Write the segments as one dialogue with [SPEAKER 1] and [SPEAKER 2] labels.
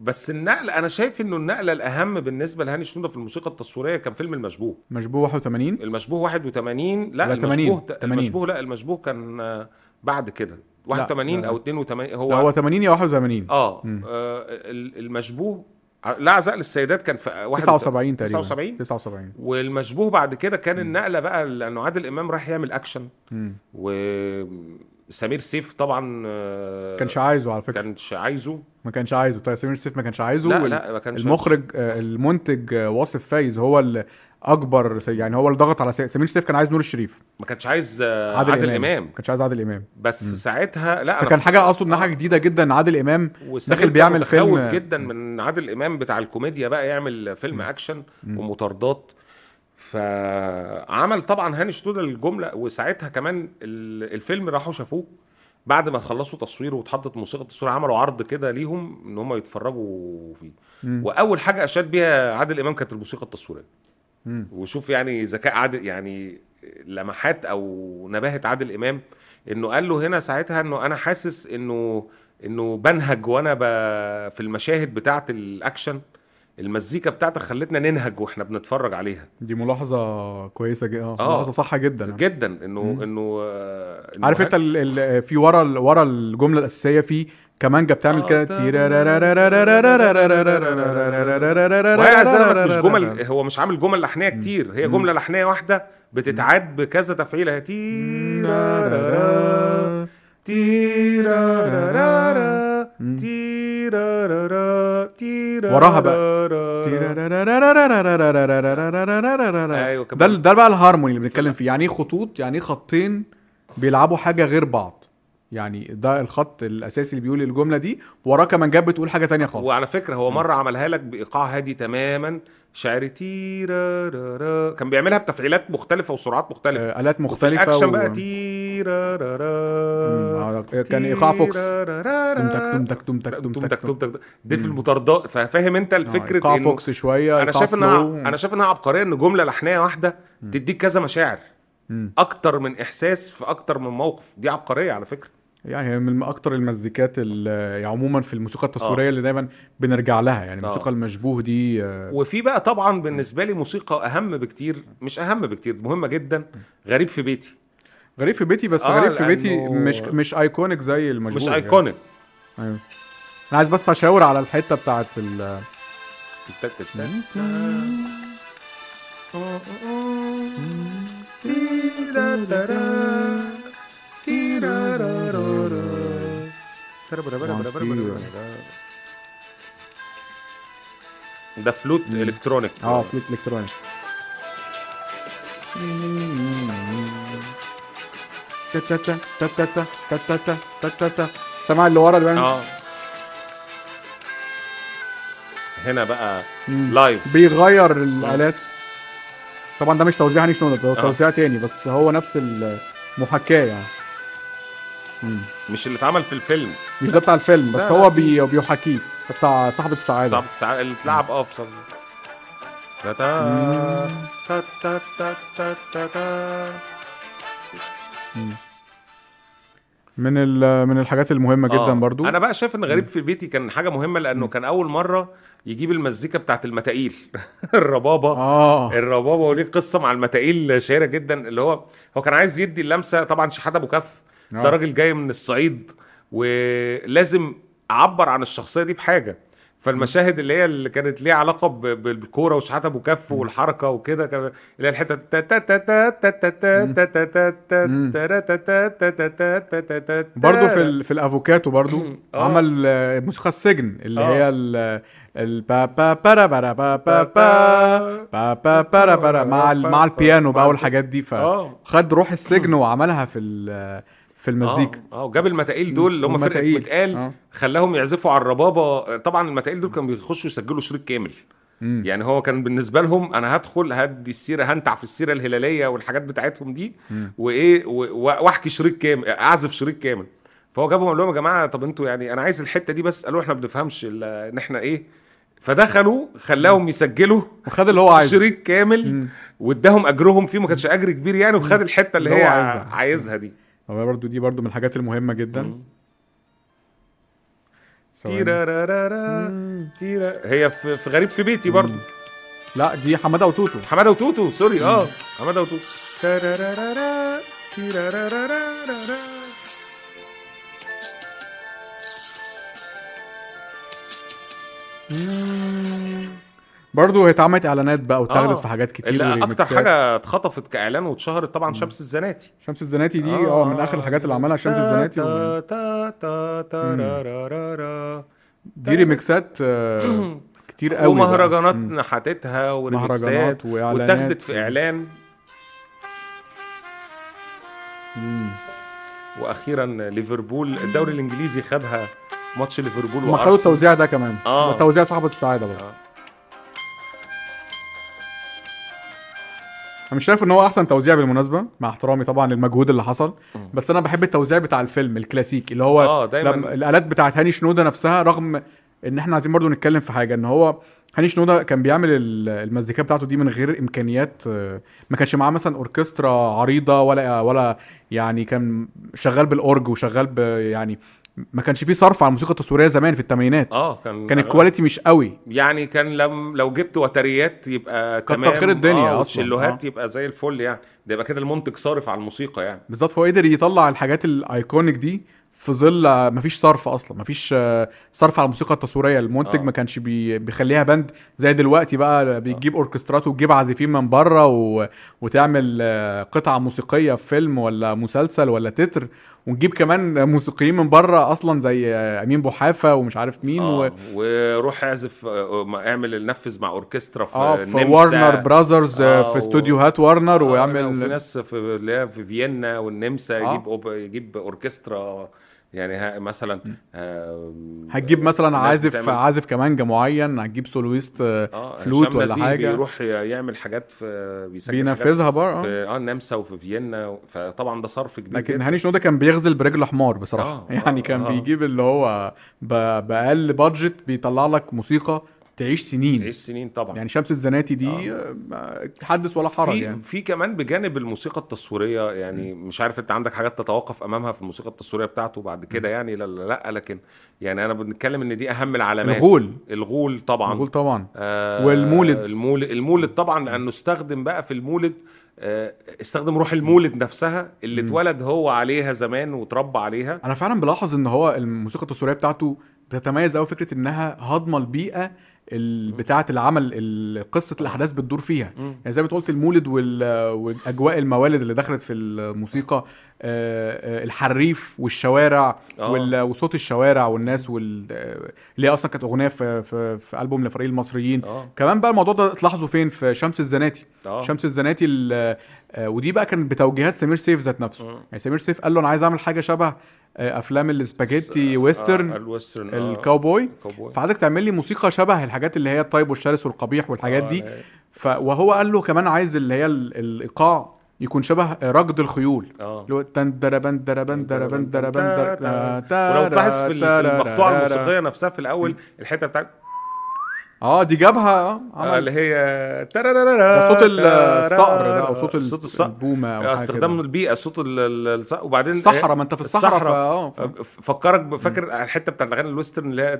[SPEAKER 1] بس النقله انا شايف انه النقله الاهم بالنسبه لهاني شنودة في الموسيقى التصويريه كان فيلم المشبوه
[SPEAKER 2] مشبوه 81
[SPEAKER 1] المشبوه 81 لا,
[SPEAKER 2] لا،
[SPEAKER 1] المشبوه
[SPEAKER 2] 80.
[SPEAKER 1] المشبوه لا المشبوه كان آه، بعد كده 81
[SPEAKER 2] لا.
[SPEAKER 1] او 82
[SPEAKER 2] هو,
[SPEAKER 1] هو
[SPEAKER 2] هو 80 يا 81
[SPEAKER 1] اه
[SPEAKER 2] مم.
[SPEAKER 1] آه، ال- المشبوه آه، لا عزاء للسيدات كان في آه، واحد-
[SPEAKER 2] 79 تقريبا
[SPEAKER 1] 79
[SPEAKER 2] 79
[SPEAKER 1] والمشبوه بعد كده كان النقله بقى لانه عادل امام راح يعمل اكشن
[SPEAKER 2] مم.
[SPEAKER 1] وسمير سيف طبعا آه،
[SPEAKER 2] كانش عايزه على فكره
[SPEAKER 1] كانش عايزه
[SPEAKER 2] ما كانش عايزه طيب سمير سيف ما كانش عايزه
[SPEAKER 1] لا
[SPEAKER 2] وال-
[SPEAKER 1] لا ما كانش
[SPEAKER 2] المخرج آه، المنتج آه، واصف فايز هو اللي اكبر يعني هو اللي ضغط على سي- سمير سيف كان عايز نور الشريف
[SPEAKER 1] ما كانش عايز آه، عادل, عادل امام
[SPEAKER 2] ما كانش عايز عادل امام
[SPEAKER 1] بس
[SPEAKER 2] مم.
[SPEAKER 1] ساعتها لا أنا آه.
[SPEAKER 2] فكان حاجه
[SPEAKER 1] فاكر-
[SPEAKER 2] اقصد انها حاجه جديده جدا عادل امام
[SPEAKER 1] وسمير
[SPEAKER 2] داخل
[SPEAKER 1] كان
[SPEAKER 2] بيعمل
[SPEAKER 1] متخوف
[SPEAKER 2] فيلم-
[SPEAKER 1] جدا من عادل امام بتاع الكوميديا بقى يعمل فيلم اكشن
[SPEAKER 2] مم.
[SPEAKER 1] ومطاردات فعمل طبعا هاني شنودة الجمله وساعتها كمان ال- الفيلم راحوا شافوه بعد ما خلصوا تصويره واتحطت موسيقى التصوير عملوا عرض كده ليهم ان هم يتفرجوا فيه
[SPEAKER 2] مم.
[SPEAKER 1] واول حاجه اشاد بيها عادل امام كانت الموسيقى التصويريه
[SPEAKER 2] مم.
[SPEAKER 1] وشوف يعني ذكاء عادل يعني لمحات او نباهه عادل امام انه قال له هنا ساعتها انه انا حاسس انه انه بنهج وانا ب... في المشاهد بتاعه الاكشن المزيكا بتاعتك خلتنا ننهج واحنا بنتفرج عليها
[SPEAKER 2] دي ملاحظه كويسه جدا اه
[SPEAKER 1] آه.
[SPEAKER 2] ملاحظه صح جدا
[SPEAKER 1] جدا انه
[SPEAKER 2] مم.
[SPEAKER 1] انه آه، إنه
[SPEAKER 2] عارف انت ال- ال- في ورا ال- ورا الجمله الاساسيه في كمانجا بتعمل
[SPEAKER 1] آه،
[SPEAKER 2] كده
[SPEAKER 1] تا- وهي زي ما مش جمل هو مش عامل جمل لحنيه كتير هي جمله لحنيه واحده بتتعاد بكذا تفعيله تي تيرارارا
[SPEAKER 2] مم.
[SPEAKER 1] تيرارارا تيرارارا
[SPEAKER 2] وراها ايوه
[SPEAKER 1] أيوة،
[SPEAKER 2] ده
[SPEAKER 1] كمان.
[SPEAKER 2] ده بقى الهارموني اللي بنتكلم فيه يعني ايه خطوط يعني ايه خطين بيلعبوا حاجه غير بعض يعني ده الخط الاساسي اللي بيقول الجمله دي وراه كمان جاب بتقول حاجه تانية خالص
[SPEAKER 1] وعلى فكره هو مره عملها لك بايقاع هادي تماما شعر تيرارارا كان بيعملها بتفعيلات مختلفه وسرعات مختلفه
[SPEAKER 2] آه، الات
[SPEAKER 1] وفي
[SPEAKER 2] مختلفه
[SPEAKER 1] الاكشن
[SPEAKER 2] و-
[SPEAKER 1] بقى تيرارارا
[SPEAKER 2] مم، آه، كان ايقاع فوكس
[SPEAKER 1] تيرارارا.
[SPEAKER 2] تم تك تم تك تم
[SPEAKER 1] تم
[SPEAKER 2] تك
[SPEAKER 1] تك
[SPEAKER 2] تم
[SPEAKER 1] تم
[SPEAKER 2] تك
[SPEAKER 1] تك دي في المطاردات فاهم انت الفكره
[SPEAKER 2] ايقاع فوكس شويه
[SPEAKER 1] انا
[SPEAKER 2] إيقاع
[SPEAKER 1] شايف انها
[SPEAKER 2] سلو.
[SPEAKER 1] انا شايف انها عبقريه ان جمله لحنيه واحده تديك كذا مشاعر
[SPEAKER 2] مم.
[SPEAKER 1] اكتر من احساس في اكتر من موقف دي عبقريه على فكره
[SPEAKER 2] يعني هي من اكتر المزيكات ال- يعني عموما في الموسيقى التصويريه اللي دايما بنرجع لها يعني
[SPEAKER 1] آه.
[SPEAKER 2] الموسيقى المشبوه دي آه،
[SPEAKER 1] وفي بقى طبعا بالنسبه لي موسيقى اهم بكتير مش اهم بكتير مهمه جدا غريب في بيتي
[SPEAKER 2] غريب في بيتي بس
[SPEAKER 1] آه،
[SPEAKER 2] غريب في بيتي
[SPEAKER 1] لأنه-
[SPEAKER 2] مش مش ايكونيك زي المشبوه
[SPEAKER 1] مش
[SPEAKER 2] يعني.
[SPEAKER 1] ايكونيك
[SPEAKER 2] ايوه انا عايز بس اشاور على الحته بتاعت ال
[SPEAKER 1] تك تك تك. ده فلوت
[SPEAKER 2] مم.
[SPEAKER 1] الكترونيك
[SPEAKER 2] اه فلوت الكترونيك تتتا تتتا تتتا تتتا سمع اللي ورا اللي
[SPEAKER 1] اه هنا بقى
[SPEAKER 2] مم.
[SPEAKER 1] لايف
[SPEAKER 2] بيغير الالات
[SPEAKER 1] آه.
[SPEAKER 2] طبعا ده مش توزيع هاني شنودة ده توزيع تاني بس هو نفس المحاكاه يعني مم.
[SPEAKER 1] مش اللي اتعمل في الفيلم
[SPEAKER 2] مش ده بتاع الفيلم بس
[SPEAKER 1] لا،
[SPEAKER 2] هو
[SPEAKER 1] في-
[SPEAKER 2] بي بيحاكيه ده بتاع صاحبة السعادة
[SPEAKER 1] صعب تسع- اللي اتلعب اه في صعب تا- تا- تا- تا- تا- تا- تا- تا.
[SPEAKER 2] من ال- من الحاجات المهمة جدا
[SPEAKER 1] آه.
[SPEAKER 2] برضو
[SPEAKER 1] انا بقى شايف ان غريب في بيتي كان حاجه مهمه لانه كان اول مره يجيب المزيكا بتاعت المتائيل الربابه
[SPEAKER 2] اه
[SPEAKER 1] الربابه وليه قصه مع المتائيل شهيره جدا اللي هو هو كان عايز يدي اللمسه طبعا شحاته ابو كف
[SPEAKER 2] آه.
[SPEAKER 1] ده راجل جاي من الصعيد ولازم اعبر عن الشخصيه دي بحاجه فالمشاهد اللي هي اللي كانت ليها علاقه ب- ب- بالكوره وشحاته ابو كف والحركه وكده كان- اللي هي الحته تا- تا- تا- تا- تا- تا- تا- تا- تا- تا- تا-
[SPEAKER 2] مم.
[SPEAKER 1] تا- تا- تا- تا- تا- تا- تا- تا- تا-
[SPEAKER 2] برضو في ال... في الافوكاتو برضو
[SPEAKER 1] آه.
[SPEAKER 2] عمل آه، موسيقى السجن اللي
[SPEAKER 1] آه.
[SPEAKER 2] هي ال ال با با برا برا با با با با با برا برا مع ال... مع البيانو بقى والحاجات دي فخد
[SPEAKER 1] اه
[SPEAKER 2] روح السجن وعملها في ال... في المزيكا
[SPEAKER 1] اه آه، وجاب المتائيل دول اللي هم فرقه
[SPEAKER 2] والمتائيل.
[SPEAKER 1] متقال
[SPEAKER 2] آه.
[SPEAKER 1] خلاهم يعزفوا على الربابه طبعا المتائيل دول كانوا بيخشوا يسجلوا شريط كامل
[SPEAKER 2] مم.
[SPEAKER 1] يعني هو كان بالنسبه لهم انا هدخل هدي السيره هنتع في السيره الهلاليه والحاجات بتاعتهم دي
[SPEAKER 2] مم.
[SPEAKER 1] وايه و- و- واحكي شريط كامل اعزف شريط كامل فهو جابهم قال لهم يا جماعه طب انتوا يعني انا عايز الحته دي بس قالوا احنا ما بنفهمش ال- ان احنا ايه فدخلوا خلاهم يسجلوا
[SPEAKER 2] وخد اللي هو عايزه
[SPEAKER 1] شريط كامل
[SPEAKER 2] مم.
[SPEAKER 1] واداهم اجرهم فيه ما كانش اجر كبير يعني وخد الحته اللي
[SPEAKER 2] اللي
[SPEAKER 1] هي
[SPEAKER 2] هو عايزها.
[SPEAKER 1] عايزها دي
[SPEAKER 2] هو برضو دي برضو من الحاجات المهمة جدا
[SPEAKER 1] مم.
[SPEAKER 2] ثواني.
[SPEAKER 1] تيرارارارا
[SPEAKER 2] مم.
[SPEAKER 1] تيرا هي في في غريب في بيتي برضه
[SPEAKER 2] لا دي حماده وتوتو
[SPEAKER 1] حماده وتوتو سوري
[SPEAKER 2] Oh.
[SPEAKER 1] اه حماده وتوتو تارارارارا، تيرارارارارا.
[SPEAKER 2] برضه هي اتعملت اعلانات بقى واتاخدت
[SPEAKER 1] آه.
[SPEAKER 2] في حاجات كتير
[SPEAKER 1] اللي اكتر
[SPEAKER 2] وريميكسات.
[SPEAKER 1] حاجه اتخطفت كاعلان واتشهرت طبعا شمس الزناتي
[SPEAKER 2] شمس الزناتي دي
[SPEAKER 1] آه.
[SPEAKER 2] اه من اخر الحاجات اللي عملها شمس الزناتي و-
[SPEAKER 1] تا تا تا تا را را را را.
[SPEAKER 2] دي ريميكسات آه، كتير قوي بقى.
[SPEAKER 1] طيب. ومهرجانات
[SPEAKER 2] مم.
[SPEAKER 1] نحتتها وريميكسات
[SPEAKER 2] مهرجانات واعلانات
[SPEAKER 1] واتاخدت في اعلان
[SPEAKER 2] مم.
[SPEAKER 1] واخيرا ليفربول الدوري الانجليزي خدها في ماتش ليفربول
[SPEAKER 2] هما خدوا
[SPEAKER 1] وارسنال
[SPEAKER 2] التوزيع ده كمان
[SPEAKER 1] آه.
[SPEAKER 2] ده توزيع صاحبة السعادة برضه
[SPEAKER 1] آه.
[SPEAKER 2] انا مش شايف ان هو احسن توزيع بالمناسبة مع احترامي طبعا للمجهود اللي حصل بس انا بحب التوزيع بتاع الفيلم الكلاسيكي اللي هو
[SPEAKER 1] آه، دايماً.
[SPEAKER 2] لما الالات بتاعت هاني شنودة نفسها رغم ان احنا عايزين برضه نتكلم في حاجة ان هو هاني شنودة كان بيعمل ال- المزيكا بتاعته دي من غير امكانيات آه، ما كانش معاه مثلا اوركسترا عريضة ولا ولا يعني كان شغال بالاورج وشغال ب يعني ما كانش فيه صرف على الموسيقى التصويريه زمان في الثمانينات
[SPEAKER 1] اه كان
[SPEAKER 2] كان الكواليتي مش قوي
[SPEAKER 1] يعني كان لم لو جبت وتريات يبقى
[SPEAKER 2] كتر
[SPEAKER 1] تمام
[SPEAKER 2] خير الدنيا أصلاً.
[SPEAKER 1] شلوهات
[SPEAKER 2] آه.
[SPEAKER 1] يبقى زي الفل يعني ده يبقى كده المنتج صارف على الموسيقى يعني
[SPEAKER 2] بالظبط فهو قدر يطلع الحاجات الايكونيك دي في ظل آه، مفيش صرف اصلا مفيش آه، صرف على الموسيقى التصويريه المنتج
[SPEAKER 1] آه.
[SPEAKER 2] ما كانش بي بيخليها بند زي دلوقتي بقى
[SPEAKER 1] آه.
[SPEAKER 2] بتجيب اوركسترات وتجيب عازفين من بره و... وتعمل آه، قطعه موسيقيه في فيلم ولا مسلسل ولا تتر ونجيب كمان موسيقيين من بره اصلا زي آه، امين بوحافه ومش عارف مين آه. و...
[SPEAKER 1] آه. وروح اعزف آه، ما اعمل نفذ مع اوركسترا في
[SPEAKER 2] اه في
[SPEAKER 1] النمسا.
[SPEAKER 2] وارنر براذرز
[SPEAKER 1] آه،
[SPEAKER 2] آه في
[SPEAKER 1] و-
[SPEAKER 2] استوديوهات وارنر
[SPEAKER 1] آه،
[SPEAKER 2] ويعمل
[SPEAKER 1] لا، وفي ناس في اللي هي في فيينا والنمسا
[SPEAKER 2] آه.
[SPEAKER 1] يجيب أوب... يجيب اوركسترا يعني ها مثلا آه،
[SPEAKER 2] هتجيب مثلا
[SPEAKER 1] ناس
[SPEAKER 2] عازف
[SPEAKER 1] بتعمل-
[SPEAKER 2] عازف كمانجه معين هتجيب سولويست آه،
[SPEAKER 1] آه،
[SPEAKER 2] فلوت
[SPEAKER 1] هشام
[SPEAKER 2] ولا
[SPEAKER 1] نزيه
[SPEAKER 2] حاجه
[SPEAKER 1] بيروح يعمل حاجات في بيسجل
[SPEAKER 2] بينفذها
[SPEAKER 1] حاجات
[SPEAKER 2] بره آه.
[SPEAKER 1] في اه النمسا وفي فيينا فطبعا ده صرف كبير
[SPEAKER 2] لكن
[SPEAKER 1] جدا
[SPEAKER 2] هاني شنودة كان بيغزل برجل حمار بصراحه
[SPEAKER 1] آه، آه،
[SPEAKER 2] يعني كان
[SPEAKER 1] آه.
[SPEAKER 2] بيجيب اللي هو ب- باقل بادجت بيطلع لك موسيقى تعيش سنين
[SPEAKER 1] تعيش سنين طبعا
[SPEAKER 2] يعني شمس الزناتي دي آه، حدث ولا حرج
[SPEAKER 1] في
[SPEAKER 2] يعني
[SPEAKER 1] في كمان بجانب الموسيقى التصويريه يعني مش عارف انت عندك حاجات تتوقف امامها في الموسيقى التصويريه بتاعته بعد كده يعني لا لا لا لكن يعني انا بنتكلم ان دي اهم العلامات
[SPEAKER 2] الغول.
[SPEAKER 1] الغول طبعا
[SPEAKER 2] نقول طبعا
[SPEAKER 1] آه
[SPEAKER 2] والمولد.
[SPEAKER 1] المولد المولد طبعا لانه استخدم بقى في المولد آه استخدم روح المولد نفسها اللي اتولد هو عليها زمان وتربى عليها
[SPEAKER 2] انا فعلا بلاحظ ان هو الموسيقى التصويريه بتاعته بتتميز قوي فكره انها هاضمه البيئه ال- بتاعه العمل ال-
[SPEAKER 1] آه.
[SPEAKER 2] قصه الاحداث بتدور فيها
[SPEAKER 1] مم.
[SPEAKER 2] يعني زي ما أنت قلت المولد وال- والاجواء الموالد اللي دخلت في الموسيقى آه، آه، الحريف والشوارع
[SPEAKER 1] آه.
[SPEAKER 2] وال- وصوت الشوارع والناس وال آه، اللي هي اصلا كانت اغنيه في في, في البوم لفريق المصريين
[SPEAKER 1] اه
[SPEAKER 2] كمان بقى الموضوع ده تلاحظه فين في شمس الزناتي
[SPEAKER 1] اه
[SPEAKER 2] شمس الزناتي ال- آه، ودي بقى كانت بتوجيهات سمير سيف ذات نفسه
[SPEAKER 1] مم.
[SPEAKER 2] يعني سمير سيف قال له انا عايز اعمل حاجه شبه آه، افلام السباجيتي
[SPEAKER 1] آه،
[SPEAKER 2] ويسترن
[SPEAKER 1] آه الويسترن آه،
[SPEAKER 2] الكاوبوي
[SPEAKER 1] الكاوبوي.
[SPEAKER 2] فعايزك تعمل لي موسيقى شبه الحاجات اللي هي الطيب والشرس والقبيح والحاجات
[SPEAKER 1] آه،
[SPEAKER 2] دي
[SPEAKER 1] لا،
[SPEAKER 2] ف... وهو قال له كمان عايز اللي هي ال- الايقاع يكون شبه ركض الخيول
[SPEAKER 1] اه
[SPEAKER 2] اللي هو تن دربن دربن دربن دربن در- تا- تا-
[SPEAKER 1] ولو تلاحظ في ال- في
[SPEAKER 2] تا-
[SPEAKER 1] المقطوعه
[SPEAKER 2] تا- تا-
[SPEAKER 1] الموسيقيه نفسها في الاول الحته بتاعت
[SPEAKER 2] اه دي جابها اه
[SPEAKER 1] آه،
[SPEAKER 2] عمل
[SPEAKER 1] اللي هي ده
[SPEAKER 2] ده صوت ال- الصقر ده او صوت ال-
[SPEAKER 1] صوت الصقر
[SPEAKER 2] البومه او حاجة كده.
[SPEAKER 1] استخدام البيئه صوت ال- ال- الصقر وبعدين
[SPEAKER 2] الصحراء ما انت في الصحراء
[SPEAKER 1] الصحراء.
[SPEAKER 2] فا- اه ف-
[SPEAKER 1] فكرك ب- فاكر الحته بتاعت الاغاني الويسترن اللي هي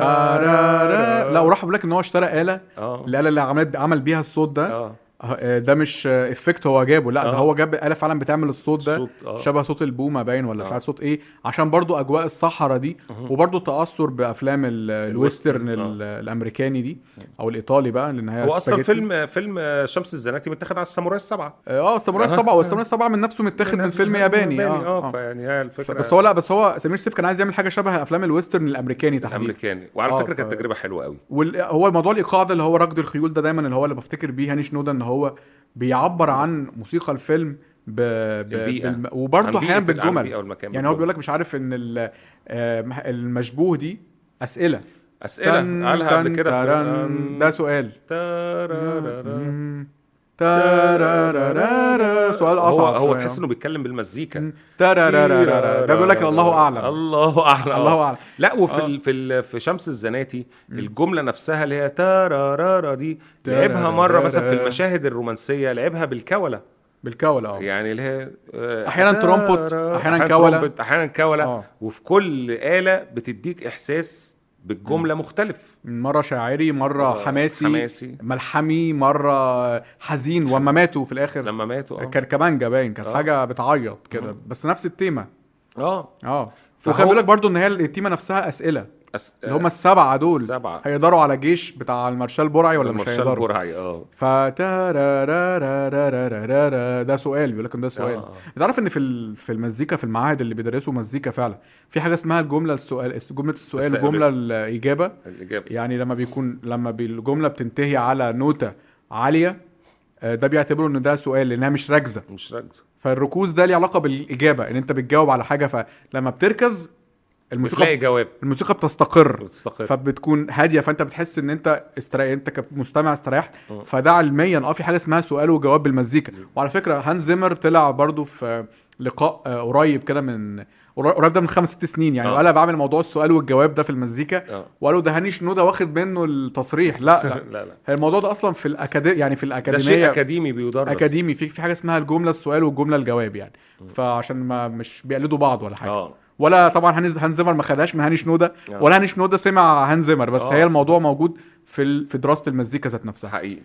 [SPEAKER 2] لا وراح بيقول لك ان هو اشترى آلة
[SPEAKER 1] اه
[SPEAKER 2] الآلة اللي عملت عمل بيها الصوت ده
[SPEAKER 1] اه
[SPEAKER 2] آه، ده مش آه، افكت هو جابه لا ده
[SPEAKER 1] آه.
[SPEAKER 2] هو جاب آلة فعلا بتعمل الصوت ده
[SPEAKER 1] صوت اه
[SPEAKER 2] شبه صوت البومة باين ولا مش
[SPEAKER 1] آه.
[SPEAKER 2] عارف صوت ايه عشان برضو اجواء الصحراء دي
[SPEAKER 1] مهم.
[SPEAKER 2] وبرضو تأثر بافلام ال-
[SPEAKER 1] الويسترن،
[SPEAKER 2] الويسترن
[SPEAKER 1] آه.
[SPEAKER 2] ال- الامريكاني دي او الايطالي بقى لان هي
[SPEAKER 1] هو اصلا
[SPEAKER 2] سباجيتي.
[SPEAKER 1] فيلم فيلم شمس الزناتي متاخد على الساموراي السبعه
[SPEAKER 2] اه الساموراي
[SPEAKER 1] أها.
[SPEAKER 2] السبعة والساموراي السبعة من نفسه متاخد من فيلم ياباني
[SPEAKER 1] اه,
[SPEAKER 2] اه, آه.
[SPEAKER 1] فيعني هي الفكره
[SPEAKER 2] بس هو لا بس هو سمير سيف كان عايز يعمل حاجه شبه افلام الويسترن الامريكاني تحديدا
[SPEAKER 1] امريكاني وعلى
[SPEAKER 2] آه،
[SPEAKER 1] فكره كانت
[SPEAKER 2] ف-
[SPEAKER 1] تجربه حلوه قوي
[SPEAKER 2] وال- هو موضوع الايقاع ده اللي هو ركض الخيول ده دايما اللي هو اللي بفتكر بيه هاني شنوده ان هو بيعبر عن موسيقى الفيلم ب... ب...
[SPEAKER 1] البيئة. عن
[SPEAKER 2] وبرضه
[SPEAKER 1] بيئة-
[SPEAKER 2] احيانا
[SPEAKER 1] عن
[SPEAKER 2] بالجمل
[SPEAKER 1] بيئة والمكان
[SPEAKER 2] يعني هو
[SPEAKER 1] بالجمل.
[SPEAKER 2] بيقول لك مش عارف ان ال... آه، مح- المشبوه دي اسئله
[SPEAKER 1] اسئله
[SPEAKER 2] تن-
[SPEAKER 1] قالها قبل
[SPEAKER 2] تن-
[SPEAKER 1] كده في-
[SPEAKER 2] ترن، ده سؤال
[SPEAKER 1] تارارارا.
[SPEAKER 2] مم. تارارارارا. سؤال
[SPEAKER 1] هو
[SPEAKER 2] اصعب
[SPEAKER 1] هو
[SPEAKER 2] شوية.
[SPEAKER 1] تحس انه بيتكلم بالمزيكا
[SPEAKER 2] تارارارارا. ده بيقول لك الله اعلم
[SPEAKER 1] الله اعلم
[SPEAKER 2] الله أعلم.
[SPEAKER 1] لا وفي
[SPEAKER 2] آه.
[SPEAKER 1] ال- في ال- في شمس الزناتي الجمله نفسها اللي هي تارارارا دي
[SPEAKER 2] تارارارا.
[SPEAKER 1] لعبها مره مثلا في المشاهد الرومانسيه لعبها بالكوله
[SPEAKER 2] بالكولا اه
[SPEAKER 1] يعني اللي هي آه،
[SPEAKER 2] أحياناً
[SPEAKER 1] دا-
[SPEAKER 2] ترومبت،
[SPEAKER 1] را-
[SPEAKER 2] أحياناً كولا.
[SPEAKER 1] ترومبت، احيانا كولا
[SPEAKER 2] آه.
[SPEAKER 1] وفي كل آلة بتديك احساس بالجملة مختلف
[SPEAKER 2] مره شاعري مره
[SPEAKER 1] آه،
[SPEAKER 2] حماسي
[SPEAKER 1] حماسي
[SPEAKER 2] ملحمي مره حزين وما ماتوا في الاخر
[SPEAKER 1] لما ماتوا اه
[SPEAKER 2] كركبانجا باين كانت
[SPEAKER 1] آه.
[SPEAKER 2] حاجه بتعيط كده
[SPEAKER 1] مم.
[SPEAKER 2] بس نفس التيمه
[SPEAKER 1] اه
[SPEAKER 2] اه
[SPEAKER 1] فهو-
[SPEAKER 2] وكان بيقول لك برضه ان هي التيمه نفسها اسئله
[SPEAKER 1] أس... آه،
[SPEAKER 2] اللي هم السبعه دول
[SPEAKER 1] اه. السبعة.
[SPEAKER 2] هيقدروا على جيش بتاع المارشال برعي ولا مش
[SPEAKER 1] المارشال
[SPEAKER 2] هيقدروا
[SPEAKER 1] برعي اه
[SPEAKER 2] فتارارارارارارارا ده سؤال بيقول لك إن ده سؤال
[SPEAKER 1] آه.
[SPEAKER 2] انت عارف ان في ال- في المزيكا في المعاهد اللي بيدرسوا مزيكا فعلا في حاجه اسمها الجمله السؤال جمله السؤال
[SPEAKER 1] التساؤلية.
[SPEAKER 2] وجمله الاجابه
[SPEAKER 1] الإجابة
[SPEAKER 2] يعني لما بيكون لما بي- الجمله بتنتهي على نوته عاليه آه، ده بيعتبروا ان ده سؤال لانها مش راكزه
[SPEAKER 1] مش راكزة
[SPEAKER 2] فالركوز ده ليه علاقه بالاجابه ان انت بتجاوب على حاجه فلما بتركز
[SPEAKER 1] بتلاقي
[SPEAKER 2] الموسيقى
[SPEAKER 1] جواب
[SPEAKER 2] الموسيقى بتستقر
[SPEAKER 1] بتستقر
[SPEAKER 2] فبتكون هاديه فانت بتحس ان انت استريح انت كمستمع استريحت
[SPEAKER 1] اه.
[SPEAKER 2] فده علميا اه في حاجه اسمها سؤال وجواب بالمزيكا وعلى فكره هانز زيمر طلع برضو في لقاء آه، قريب كده من قري- قريب ده من خمس ست سنين يعني
[SPEAKER 1] اه.
[SPEAKER 2] وقال أنا بعمل موضوع السؤال والجواب ده في المزيكا
[SPEAKER 1] اه
[SPEAKER 2] وقالوا ده هاني شنوده واخد منه التصريح لا لا
[SPEAKER 1] لا لا
[SPEAKER 2] هي الموضوع ده اصلا في الاكاديميه يعني في
[SPEAKER 1] ده شيء
[SPEAKER 2] الاكاديميه
[SPEAKER 1] أكاديمي بيدرس
[SPEAKER 2] اكاديمي في في حاجه اسمها الجمله السؤال والجمله الجواب يعني فعشان ما مش بيقلدوا بعض ولا حاجه
[SPEAKER 1] اه
[SPEAKER 2] ولا طبعا هانز هانز زيمر ما خدهاش من هاني شنوده
[SPEAKER 1] آه.
[SPEAKER 2] ولا هاني شنوده سمع هانز زيمر بس
[SPEAKER 1] آه.
[SPEAKER 2] هي الموضوع موجود في ال... في دراسه المزيكا ذات نفسها
[SPEAKER 1] حقيقي